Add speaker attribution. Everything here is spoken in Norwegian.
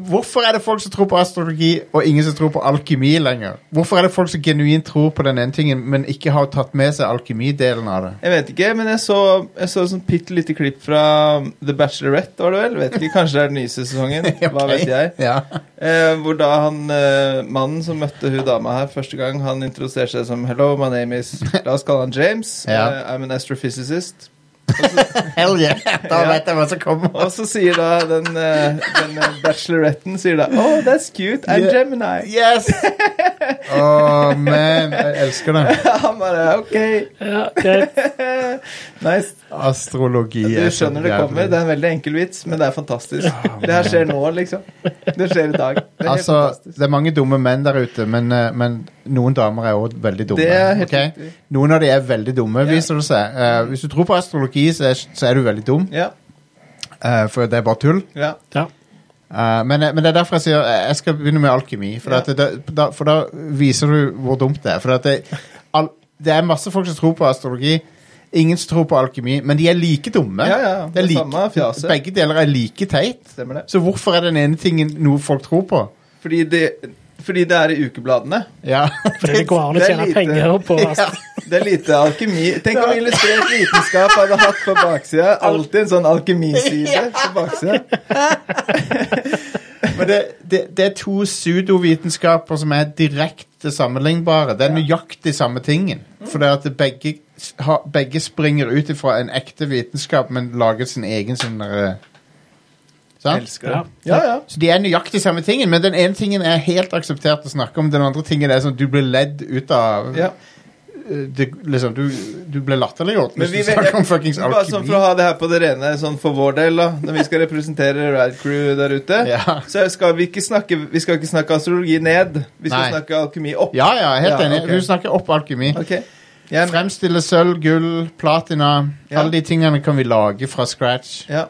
Speaker 1: hvorfor er det folk som tror på astrologi, og ingen som tror på alkymi lenger? Hvorfor er det folk som genuint tror på den ene tingen, men ikke har tatt med seg alkymidelen av det?
Speaker 2: Jeg vet ikke, men jeg så, jeg så sånn bitte lite klipp fra The Bachelorette, var det vel? Vet ikke, Kanskje det er den nye sesongen. Hva
Speaker 1: Ok.
Speaker 2: vet jeg?
Speaker 1: Ja.
Speaker 2: Eh, hvor da han eh, mannen som møtte hun dama her første gang, han introduserte seg som Hello, my name is La oss kalle han James.
Speaker 1: Ja.
Speaker 2: Eh, I'm an astrophysicist.
Speaker 1: Hell yeah! Da
Speaker 2: Ja.
Speaker 1: vet jeg hva som kommer.
Speaker 2: Og så sier da den, eh, den eh, bacheloretten sier da Oh, that's cute. I'm
Speaker 1: Yeah.
Speaker 2: Gemini.
Speaker 1: Yes! Å, man. Jeg elsker det.
Speaker 2: Han bare OK.
Speaker 3: Ja, det,
Speaker 2: Nice.
Speaker 1: Astrologi
Speaker 2: Du
Speaker 1: er så
Speaker 2: skjønner det
Speaker 1: jævlig.
Speaker 2: kommer. Det er en veldig enkel vits, men det er fantastisk. Det her skjer nå, liksom. Det skjer i dag. Det er helt
Speaker 1: Altså,
Speaker 2: fantastisk.
Speaker 1: det er mange dumme menn der ute, men, eh, men noen damer er òg veldig dumme.
Speaker 2: Det er helt
Speaker 1: ok?
Speaker 2: riktig.
Speaker 1: Noen av de er veldig dumme,
Speaker 2: Ja.
Speaker 1: viser det seg. Eh, hvis du tror på astrologi, så er, så er du veldig dum,
Speaker 2: Ja,
Speaker 1: eh, for det er bare tull.
Speaker 2: ja.
Speaker 3: ja.
Speaker 1: Eh, men, men det er derfor jeg sier eh, jeg skal begynne med alkymi, for,
Speaker 2: Ja.
Speaker 1: at det, da, for da viser du hvor dumt det er. For at det, al, det er masse folk som tror på astrologi. Ingen som tror på alkymi, men de er like dumme.
Speaker 2: Ja, ja,
Speaker 1: det er
Speaker 2: det
Speaker 1: like,
Speaker 2: samme fjaset.
Speaker 1: Begge deler er like teit.
Speaker 2: Stemmer det.
Speaker 1: Så hvorfor er den ene tingen noe folk tror på?
Speaker 2: Fordi det, fordi det er i ukebladene.
Speaker 1: Ja,
Speaker 3: det går an å
Speaker 2: Det er
Speaker 3: tjene
Speaker 2: lite.
Speaker 3: penger på
Speaker 1: Ja.
Speaker 2: Det er lite alkemi. Tenk om illustrert vitenskap hadde hatt på baksida. Alltid en sånn alkemiside på baksida.
Speaker 1: Men det, det, det er to pseudovitenskaper som er direkte sammenlignbare. Det er nøyaktig samme tingen.
Speaker 2: Mm.
Speaker 1: For det er at det begge, s- har- begge springer ut ifra en ekte vitenskap, men lager sin egen sånn der, eh, Sant?
Speaker 2: Elsker det. Ja, ja.
Speaker 1: Så de er nøyaktig samme tingen, men den ene tingen er helt akseptert å snakke om. Den andre tingen er sånn du blir ledd ut av
Speaker 2: ja.
Speaker 1: eh, det, liksom, du, du blir latterliggjort
Speaker 2: Men
Speaker 1: hvis
Speaker 2: vi
Speaker 1: du snakker om
Speaker 2: vet,
Speaker 1: fuckings
Speaker 2: bare sånn for å
Speaker 1: alkymi.
Speaker 2: ha det her på det rene sånn for vår del, da, når vi skal representere Rad Crew der ute,
Speaker 1: Ja.
Speaker 2: så skal vi ikke snakke Vi skal ikke snakke astrologi ned. Vi skal
Speaker 1: Nei.
Speaker 2: snakke alkemi opp.
Speaker 1: Ja, ja, helt
Speaker 2: Ja,
Speaker 1: enig.
Speaker 2: ok.
Speaker 1: Du snakker opp alkymi.
Speaker 2: Ok. Jeg,
Speaker 1: Fremstille sølv, gull, platina.
Speaker 2: Ja.
Speaker 1: Alle de tingene kan vi lage fra scratch.
Speaker 2: ja.